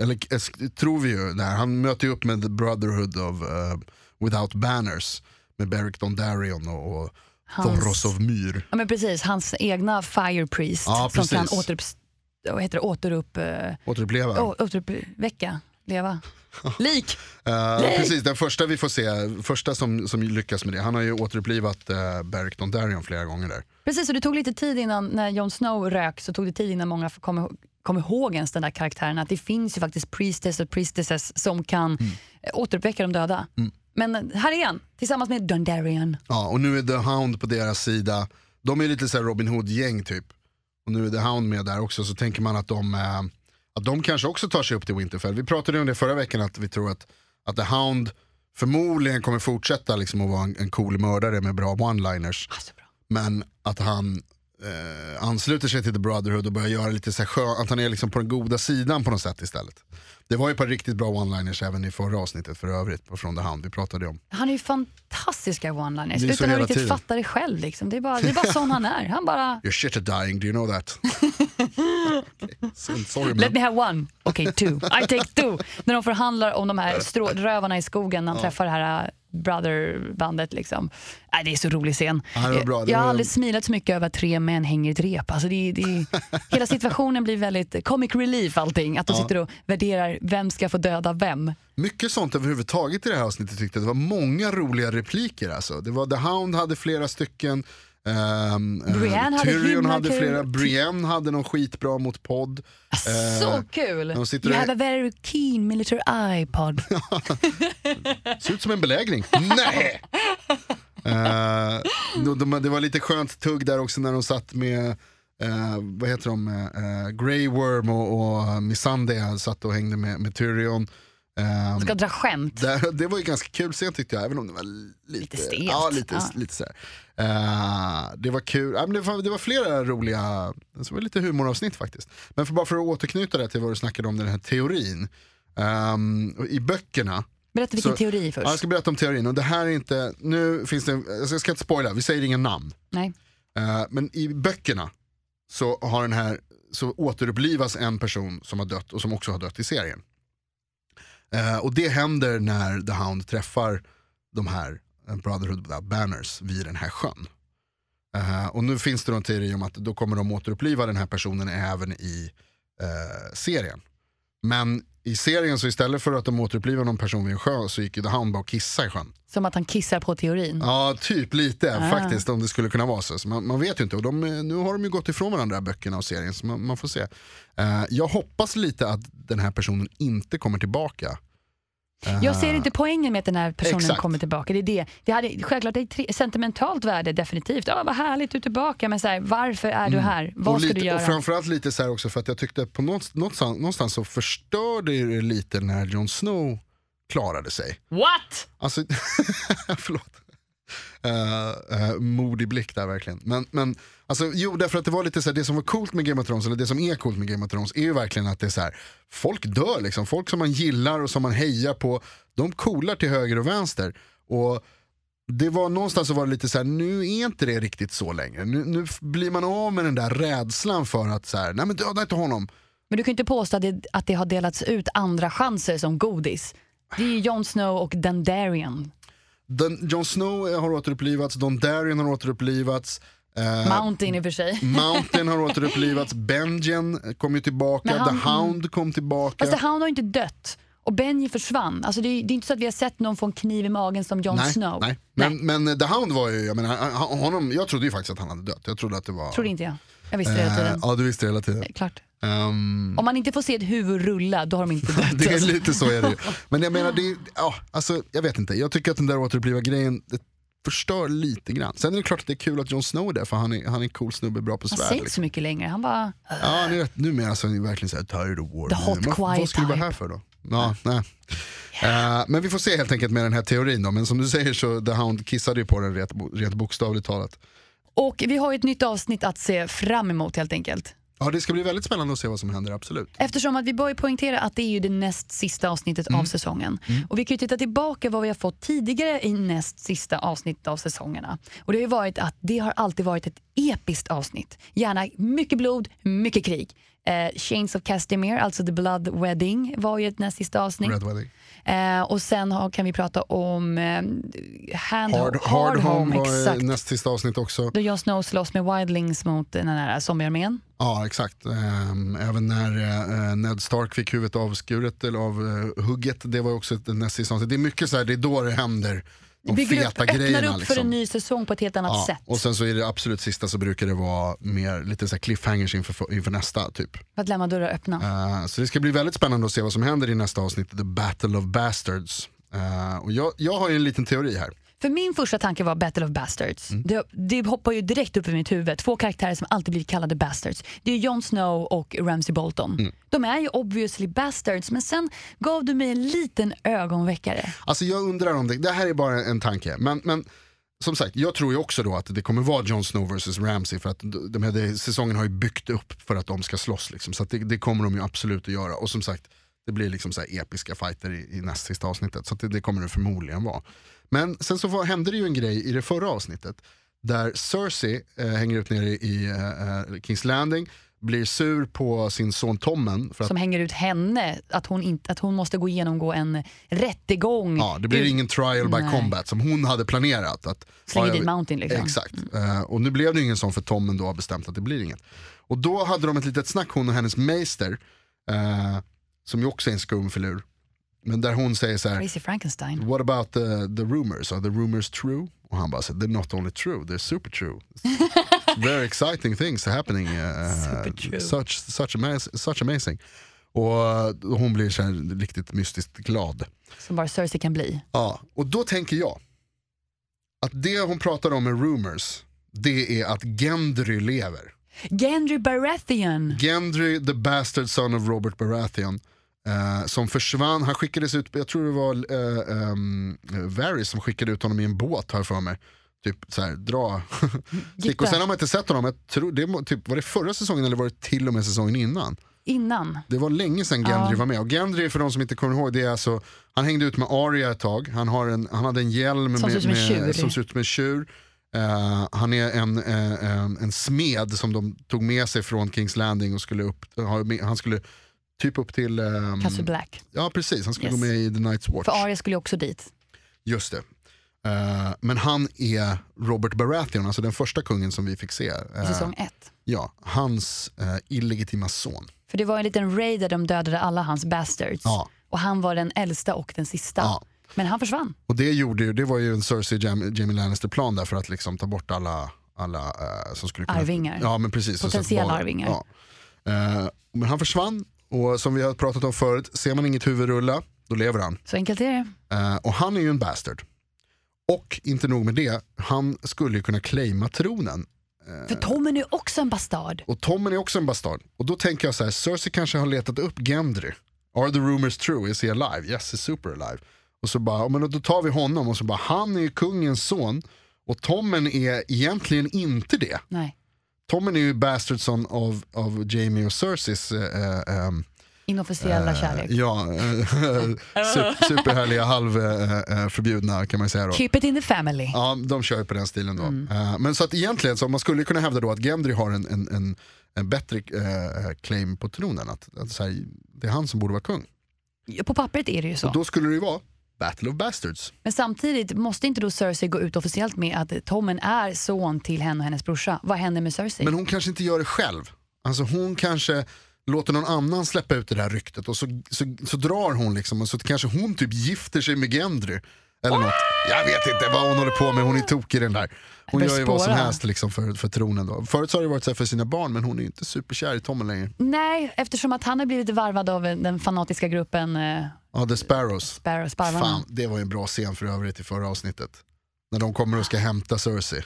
eller eh, sk- tror vi ju, där. han möter ju upp med The Brotherhood of eh, Without Banners med Beric Dondarrion och, och
Hans-
Thoros of Myr.
Ja, men precis, hans egna Fire Priest
Ja,
som
precis.
kan återuppstå vad heter det, återupp, eh,
Återuppleva.
å- återuppväcka, leva. Lik!
Eh, precis, den första vi får se, första som, som lyckas med det, han har ju återupplivat uh, Beric Dondarrion flera gånger där.
Precis, och det tog lite tid innan, när Jon Snow rök, så tog det tid innan många kom, ihå- kom ihåg ens den där karaktären. Att det finns ju faktiskt priestess och priestesses som kan
Mm.
eh, återuppväcka de döda. Men eh, här är han, tillsammans med Dundarian.
Ja, och nu är The Hound på deras sida. De är lite så här Robin Hood-gäng typ. Och nu är The Hound med där också, så tänker man att de, eh, att de kanske också tar sig upp till Winterfell. Vi pratade om det förra veckan, att vi tror att, att The Hound förmodligen kommer fortsätta liksom, att vara en, en cool mördare med bra one-liners. Men att han eh, ansluter sig till The Brotherhood och börjar göra lite så här skön, att han är liksom på den goda sidan på något sätt istället. Det var ju ett par riktigt bra one-liners även i förra avsnittet för övrigt, från The Hound, vi pratade ju om.
Han är ju fantastiska one-liners
Det är så
utan att
hela
riktigt
tiden.
fatta det själv. Liksom. Det, är bara, det är bara sån han är. Han bara,
Your shit are dying, do you know that? okay. so- Sorry
let
man.
me have one, okay two, I take two. När de förhandlar om de här strå- rövarna i skogen när han träffar det här äh, brotherbandet. Liksom. Nej, det är så rolig scen.
Ja, det var bra. Det
Jag har
var-
aldrig smilat så mycket över att tre män hänger i ett rep. Alltså det, är- det, är- hela situationen blir väldigt comic relief allting. Att de sitter och värderar vem ska få döda vem.
Mycket sånt överhuvudtaget i det här avsnittet tyckte jag. Det var många roliga repliker alltså. Det var The Hound hade flera stycken. Um,
Brienne hade
Tyrion
himla
hade
kul.
flera. Brienne hade någon skitbra mot podd.
Så kul!
Eh, de sitter
You
och-
have a very keen military eye, pod.
Ser ut som en belägring. Nej! Eh, de, de, det var lite skönt tugg där också när de satt med eh, vad heter de, uh, Grey Worm och, och Missandei satt och hängde med, med Tyrion. Ehm,
Ska dra skämt.
Där, det var ju ganska kul scen tyckte jag, även om det var lite,
Lite stelt.
Ja, lite,
Ja.
lite sådär. Eh, det var kul, ja, men det, var, det var flera roliga, det var lite humoravsnitt faktiskt. Men för, bara för att återknyta det till vad du snackade om, den här teorin. Ehm, och I böckerna,
Berätta vilken
Så-
teori
ja, jag
först.
ska berätta om teorin och det här är inte, nu finns det, alltså jag ska inte spoila, vi säger ingen namn.
Nej.
Eh, men i böckerna så, har den här, så återupplivas en person som har dött och som också har dött i serien. Eh, och det händer när The Hound träffar de här eh, Brotherhood Without Banners vid den här sjön. Eh, och nu finns det då en teori om att då kommer de återuppliva den här personen även i eh, serien. Men i serien så istället för att de återupplivar någon person vid en sjö så gick ju The Hound bara och kissade i sjön.
Som att han kissar på teorin.
Ja, typ lite
Ah.
faktiskt om det skulle kunna vara så. så man, man vet ju inte. Och de, eh, nu har de ju gått ifrån varandra böckerna och serien så man, man får se. Eh, jag hoppas lite att den här personen inte kommer tillbaka.
Jag ser inte poängen med att den här personen
Ah. Exakt.
kommer tillbaka. Det är det. Det hade självklart ett tre- sentimentalt värde, definitivt. Ja, vad härligt, du är tillbaka. Men så här, varför är du här? Vad
Mm. och
ska
lite,
du göra?
Och framförallt lite så här också för att jag tyckte på någonstans, någonstans, någonstans så förstörde ju det lite när Jon Snow klarade sig.
What?
Alltså, förlåt. Uh, modig blick där verkligen. Men, men alltså, jo, därför att det var lite så här, det som var coolt med Game of Thrones, eller det som är coolt med Game of Thrones, är ju verkligen att det är så här, folk dör liksom. Folk som man gillar och som man hejar på, de coolar till höger och vänster. Och det var någonstans så var det lite så här, nu är inte det riktigt så längre. Nu, nu f- blir man av med den där rädslan för att så här, nej men döda inte honom.
Men du kan ju inte påstå att det, att det har delats ut andra chanser som godis. Det är ju Jon Snow och Dendarian.
Den, Jon Snow har återupplivats, Don Darien har återupplivats. eh,
Mountain i och för sig.
Mm. Mountain har återupplivats, Benjen kom ju tillbaka,
Men han-
The Hound kom tillbaka.
Fast han har ju inte dött. Och Benji försvann. Alltså det, är, det är inte så att vi har sett någon få en kniv i magen som Jon
nej,
Snow.
nej. Men, men eh, The Hound var ju, jag menar, han- honom, jag trodde ju faktiskt att han hade dött. Jag trodde att det var...
Trodde inte jag. Jag visste det hela
Eh,
tiden.
Ja, du visste det hela tiden.
Klart.
Ehm,
Om man inte får se ett huvud rulla, då har de inte dött.
det är lite så är det ju. Men jag menar, det är, ja, alltså, jag vet inte. Jag tycker att den där återuppliva grejen det förstör lite grann. Sen är det klart att det är kul att Jon Snow är där, för han är, han är en cool snubbe, bra på
Alltså, Han
svärd.
säger inte
liksom.
så mycket längre. Han bara...
Ja, han är rätt, numera så är han verkligen såhär tired of war.
The hot,
Men vad-
quiet
Vad skulle du vara
type.
här för då? Ja, nej. Eh, men vi får se helt enkelt med den här teorin då. Men som du säger så The Hound kissade ju på den rätt, bo- rätt bokstavligt talat.
Och vi har ju ett nytt avsnitt att se fram emot helt enkelt.
Ja, det ska bli väldigt spännande att se vad som händer, absolut.
Eftersom att vi bör ju poängtera att det är ju det näst sista avsnittet
Mm.
av säsongen. Och vi kan ju titta tillbaka vad vi har fått tidigare i näst sista avsnitt av säsongerna. Och det har ju varit att det har alltid varit ett episkt avsnitt. Gärna mycket blod, mycket krig. Eh, Chains of Castamere, alltså The Blood Wedding, var ju ett näst sista avsnitt.
Red Wedding.
Eh, och sen har, kan vi prata om eh, hand,
Hard, Hard Home var eh,
exakt.
näst sista avsnitt också.
Då Jon Snow slåss med Wildlings mot den här zombiearmén.
Ja, exakt. Ehm, Även när eh, Ned Stark fick huvudet avskuret eller av eh, hugget, det var ju också ett näst sista avsnitt. Det är mycket så här, det är då det händer. De
Bygger upp,
feta
öppnar
grejerna
upp för
liksom.
en ny säsong på ett helt annat
Ja,
sätt.
och sen så i det absolut sista så brukar det vara mer lite så här cliffhangers inför, inför nästa typ.
För att lämna dörrar öppna.
Eh, så det ska bli väldigt spännande att se vad som händer i nästa avsnitt, The Battle of Bastards. Eh, och jag, jag har ju en liten teori här.
För min första tanke var Battle of Bastards.
Mm.
Det, det hoppar ju direkt upp i mitt huvud. Två karaktärer som alltid blir kallade Bastards. Det är Jon Snow och Ramsay Bolton.
Mm.
De är ju obviously Bastards, men sen gav du mig en liten ögonväckare.
Alltså jag undrar om det, det här är bara en tanke, men, men som sagt, jag tror ju också då att det kommer vara Jon Snow vs Ramsey för att de här, de, säsongen har ju byggt upp för att de ska slåss liksom, så att det, det kommer de ju absolut att göra. Och som sagt, det blir liksom så här episka fighter i, i näst sista avsnittet, så att det, det kommer det förmodligen vara. Men sen så var, hände det ju en grej i det förra avsnittet, där Cersei eh, hänger ut nere i eh, eh, Kings Landing, blir sur på sin son Tommen för att
Som hänger ut henne, att hon, inte, att hon måste gå genomgå en rättegång.
Ja, det blir
ut-
ingen trial by
Nej.
combat som hon hade planerat. Att,
Släng
ja,
dit
jag-
Mountain, liksom.
Exakt, Eh, och nu blev det ju ingen sån för Tommen då har bestämt att det blir inget. Och då hade de ett litet snack hon och hennes meister, eh, som ju också är en skum filur. Men där hon säger så här,
Crazy Frankenstein.
What about the, the rumors? Are the rumors true? Och han bara, så, they're not only true, they're super true. Very exciting things are happening. eh,
Super true.
Such, such, amaz- such amazing. Och eh, hon blir så här riktigt mystiskt glad.
Som bara Cersei kan bli.
Ja, och då tänker jag att det hon pratar om med rumors, det är att Gendry lever.
Gendry Baratheon.
Gendry, the bastard son of Robert Baratheon, eh, som försvann, han skickades ut, jag tror det var eh, ehm, Varys som skickade ut honom i en båt här för mig. Typ så här, dra. Stick. och sen har man inte sett honom, jag tror, det, må- typ, var det förra säsongen eller var det till och med säsongen innan?
Innan.
Det var länge sedan Gendry var med. Och Gendry för de som inte kommer ihåg, det är alltså, han hängde ut med Arya ett tag. Han, har en, han hade en hjälm
Som ser
med,
ut som en tjur.
med, som ser ut som en tjur. Eh, han är en, eh, en, en smed som de tog med sig från Kings Landing och skulle upp, ha med- han skulle typ upp till, ehm,
Castle Black.
ja precis, han skulle
Yes.
gå med i The Night's Watch.
För Arya skulle ju också dit.
Just det. Eh, men han är Robert Baratheon, alltså den första kungen som vi fick se.
i
Eh,
Säsong ett.
ja, hans eh, illegitima son.
För det var en liten raid där de dödade alla hans bastards.
Ja.
Och han var den äldsta och den sista.
Ja.
Men han försvann.
Och det, gjorde ju, det var ju en Cersei Jam, Jamie Lannister-plan där för att liksom ta bort alla, alla eh, som skulle kunna...
Arvingar.
Ja, men precis. Och
Potentiella
så att bara-
arvingar.
Ja. Eh, men han försvann och som vi har pratat om förut, ser man inget huvud rulla, då lever han.
Så enkelt är det.
Eh, och han är ju en bastard. Och inte nog med det, han skulle ju kunna claima tronen.
För
Eh.
Tommen är också en bastard.
Och Tommen är också en bastard. Och då tänker jag så här, Cersei kanske har letat upp Gendry. Are the rumors true? Is he alive? Yes, he's super alive. Och så bara, ja, men då tar vi honom och så bara, han är ju kungens son. Och Tommen är egentligen inte det.
Nej,
Tommen är ju bastardson av, av Jamie och Cerseis eh, eh, ehm,
inofficiella kärlek.
ja, eh, super, superhärliga halvförbjudna kan man ju säga då.
Keep it in the family.
Ja, de kör ju på den stilen då. Eh, men så att egentligen, så man skulle kunna hävda då att Gendry har en, en, en, en bättre eh, claim på tronen. Att, att så här, det är han som borde vara kung.
På pappret är det ju så.
Då skulle det ju vara Battle of Bastards.
Men samtidigt måste inte då Cersei gå ut officiellt med att Tommen är son till henne och hennes brorsa. Vad händer med Cersei?
Men hon kanske inte gör det själv. Alltså hon kanske låter någon annan släppa ut det där ryktet och så, så, så drar hon liksom och så kanske hon typ gifter sig med Gendry. Eller något. Jag vet inte vad hon håller på med, hon är tokig den där. Hon
börjar
gör ju vad som
spåra.
helst liksom för, för tronen. Då. Förut så har det varit så här för sina barn men hon är ju inte superkär i Tommen längre.
Nej, eftersom att han har blivit varvad av eh, den fanatiska gruppen eh,
Ja, The Sparrows.
Sparrow, Sparvarna.
Fan, det var ju en bra scen för övrigt i förra avsnittet. När de kommer och ska hämta Cersei.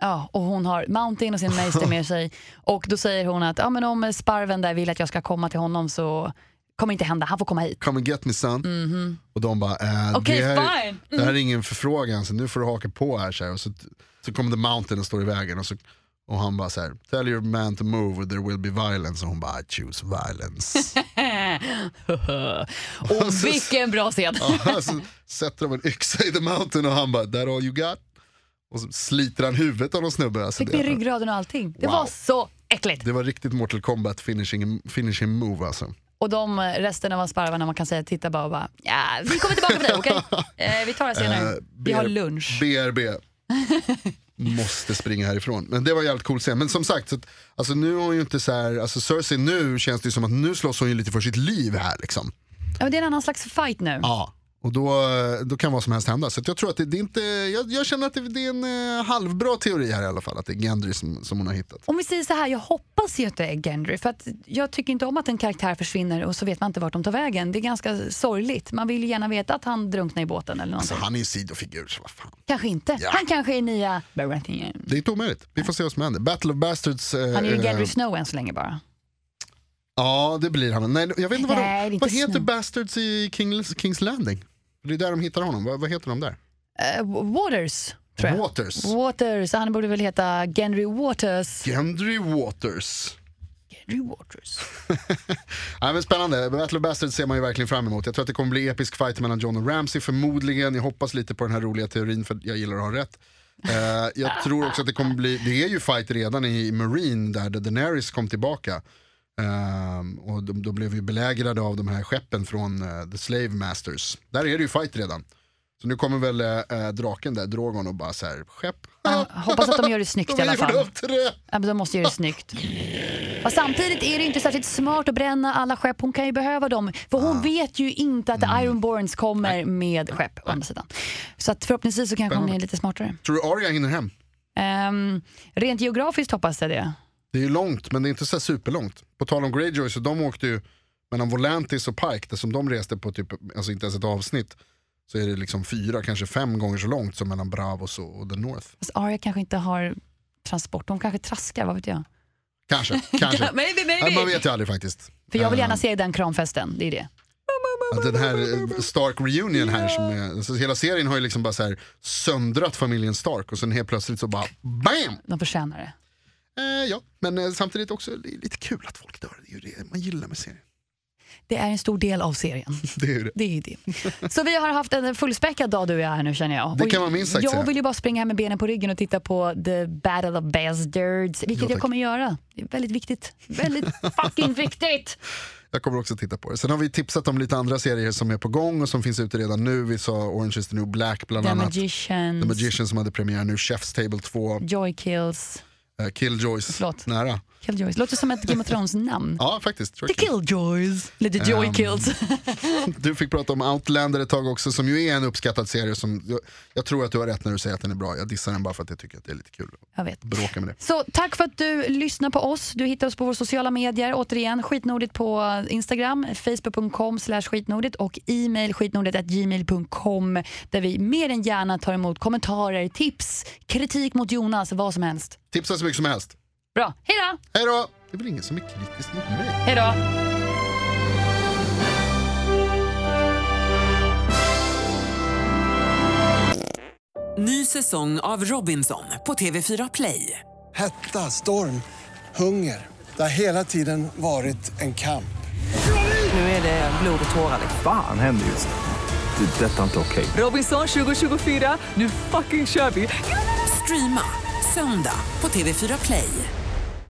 Ja, och hon har Mountain och sin meister med sig. Och då säger hon att ja, men om sparven där vill att jag ska komma till honom så kommer inte hända, han får komma hit.
Come and get me son. Och de bara, eh,
Mhm. Okej,
det, här,
fine. Mm.
det här är ingen förfrågan så nu får du haka på här. Så, här. Och så, så kommer The Mountain och står i vägen och, så, och han bara så här, tell your man to move or there will be violence. Och hon bara, I choose violence.
Och vilken bra scen!
Ja, så sätter de en yxa i The Mountain och han bara, that all you got? Och så sliter han huvudet av någon snubbe. Alltså,
Fick
det-
med ryggraden och allting. Det
Wow.
var så äckligt.
Det var riktigt Mortal Kombat finishing, finishing move alltså.
Och de eh, resten av sparvarna man kan säga titta bara och bara, ja, vi kommer tillbaka till dig, okej? Eh, vi tar det senare.
Eh,
vi har
BR
lunch.
BRB. Måste springa härifrån. Men det var jävligt cool scen. Men som sagt, så att, alltså nu har hon ju inte så här, alltså Cersei nu känns det ju som att nu slåss hon ju lite för sitt liv här liksom.
Ja, men det är en annan slags fight nu.
Ja. Och då, då kan vad som helst hända. Så att jag tror att det, det är inte, jag, jag känner att det, det är en eh, halvbra teori här i alla fall. Att det är Gendry som, som hon har hittat.
Om vi säger så här, jag hoppas ju att det är Gendry för att jag tycker inte om att en karaktär försvinner och så vet man inte vart de tar vägen. Det är ganska sorgligt. Man vill ju gärna veta att han drunknar i båten eller någonting.
Så Alltså, han är ju sidofigur så vad fan.
Kanske inte.
Ja.
Han kanske är nya Baratheon.
Det är inte omöjligt. Vi får se vad som händer. Battle of Bastards. eh,
Han är ju
eh,
Gendry Snow än så länge bara.
Ja, det blir han. Nej, jag vet inte vad,
Nej, det är
de,
inte
vad heter
Snow.
Bastards i Kings, Kings Landing? Det är där de hittar honom. Vad, vad heter de där?
Eh, Waters, tror jag.
Waters.
Waters. Han borde väl heta Gendry Waters.
Gendry Waters.
Gendry Waters.
Ja, men spännande. Battle of Bastards ser man ju verkligen fram emot. Jag tror att det kommer bli episk fight mellan John och Ramsey förmodligen. Jag hoppas lite på den här roliga teorin för jag gillar att ha rätt. Eh, jag tror också att det kommer bli, det är ju fight redan i Marine där Daenerys kom tillbaka. Ehm, och de, de blev ju belägrade av de här skeppen från eh, The Slave Masters. Där är det ju fight redan. Så nu kommer väl eh, draken där, Drogon och bara så här, skepp.
Ja, hoppas att de gör det snyggt i alla
gjorde
fall.
upp till det.
Ja, men de måste göra det snyggt. Och samtidigt är det inte särskilt smart att bränna alla skepp. Hon kan ju behöva dem. För hon vet ju inte att The Ironborns kommer med skepp. Å andra sidan. Så att förhoppningsvis så kanske hon är lite smartare.
Tror du Arya hinner hem?
Ehm, rent geografiskt hoppas jag det.
Det är ju långt, men det är inte så här superlångt. På tal om Greyjoy, så de åkte ju mellan Volantis och Pike, där som de reste på typ, alltså inte ens ett avsnitt, så är det liksom fyra, kanske fem gånger så långt som mellan Bravos och, och The North.
Fast Arya kanske inte har transport. Hon kanske traskar, vad vet jag.
Kanske, kanske.
Maybe,
Nej, man
maybe.
vet ju aldrig faktiskt.
För jag vill gärna se den kramfesten. Det är det.
Att den här eh, Stark reunion här, som är, alltså hela serien har ju liksom bara så här söndrat familjen Stark och sen helt plötsligt så bara BAM!
De förtjänar det.
Eh, ja, men eh, samtidigt också det är lite kul att folk dör. Det är ju det man gillar med serien.
Det är en stor del av serien.
Det är ju det.
Det är ju det. Så vi har haft en fullspäckad dag du och jag här nu känner jag.
Det
Och
kan man minst sagt säga.
Jag vill ju bara springa här med benen på ryggen och titta på The Battle of Bastards, vilket
Ja,
jag
tack.
kommer göra. Det är väldigt viktigt. Väldigt fucking viktigt!
Jag kommer också titta på det. Sen har vi tipsat om lite andra serier som är på gång och som finns ute redan nu. Vi sa Orange is the new black bland
The
annat.
Magicians,
The Magician som hade premiär nu, Chef's Table 2,
Joy Kills,
eh, Killjoys.
Förlåt.
Nära.
Killjoys. Låter som ett Game of Thrones-namn.
Ja, faktiskt. tror
The
jag.
Killjoys, eller The Joy
Ehm,
Kills.
Du fick prata om Outlander ett tag också som ju är en uppskattad serie. Som, jag, jag tror att du har rätt när du säger att den är bra. Jag dissar den bara för att jag tycker att det är lite kul att
Jag vet.
bråka med det.
Så tack för att du lyssnar på oss. Du hittar oss på våra sociala medier. Återigen, skitnordigt på Instagram, facebook.com slash skitnordigt och e-mail skitnordigt.gmail.com där vi mer än gärna tar emot kommentarer, tips, kritik mot Jonas, vad som helst.
Tipsa så mycket som helst.
Bra, hej då!
Hej då! Det är väl ingen som är kritisk mot mig?
Hej då!
Ny säsong av Robinson på TV4 Play.
Hetta, storm, hunger. Det har hela tiden varit en kamp.
Nu är det blod och tårar. liksom.
Fan händer just det. Det är detta inte okej.
Robinson 2024, nu fucking kör vi! Streama söndag på TV4 Play.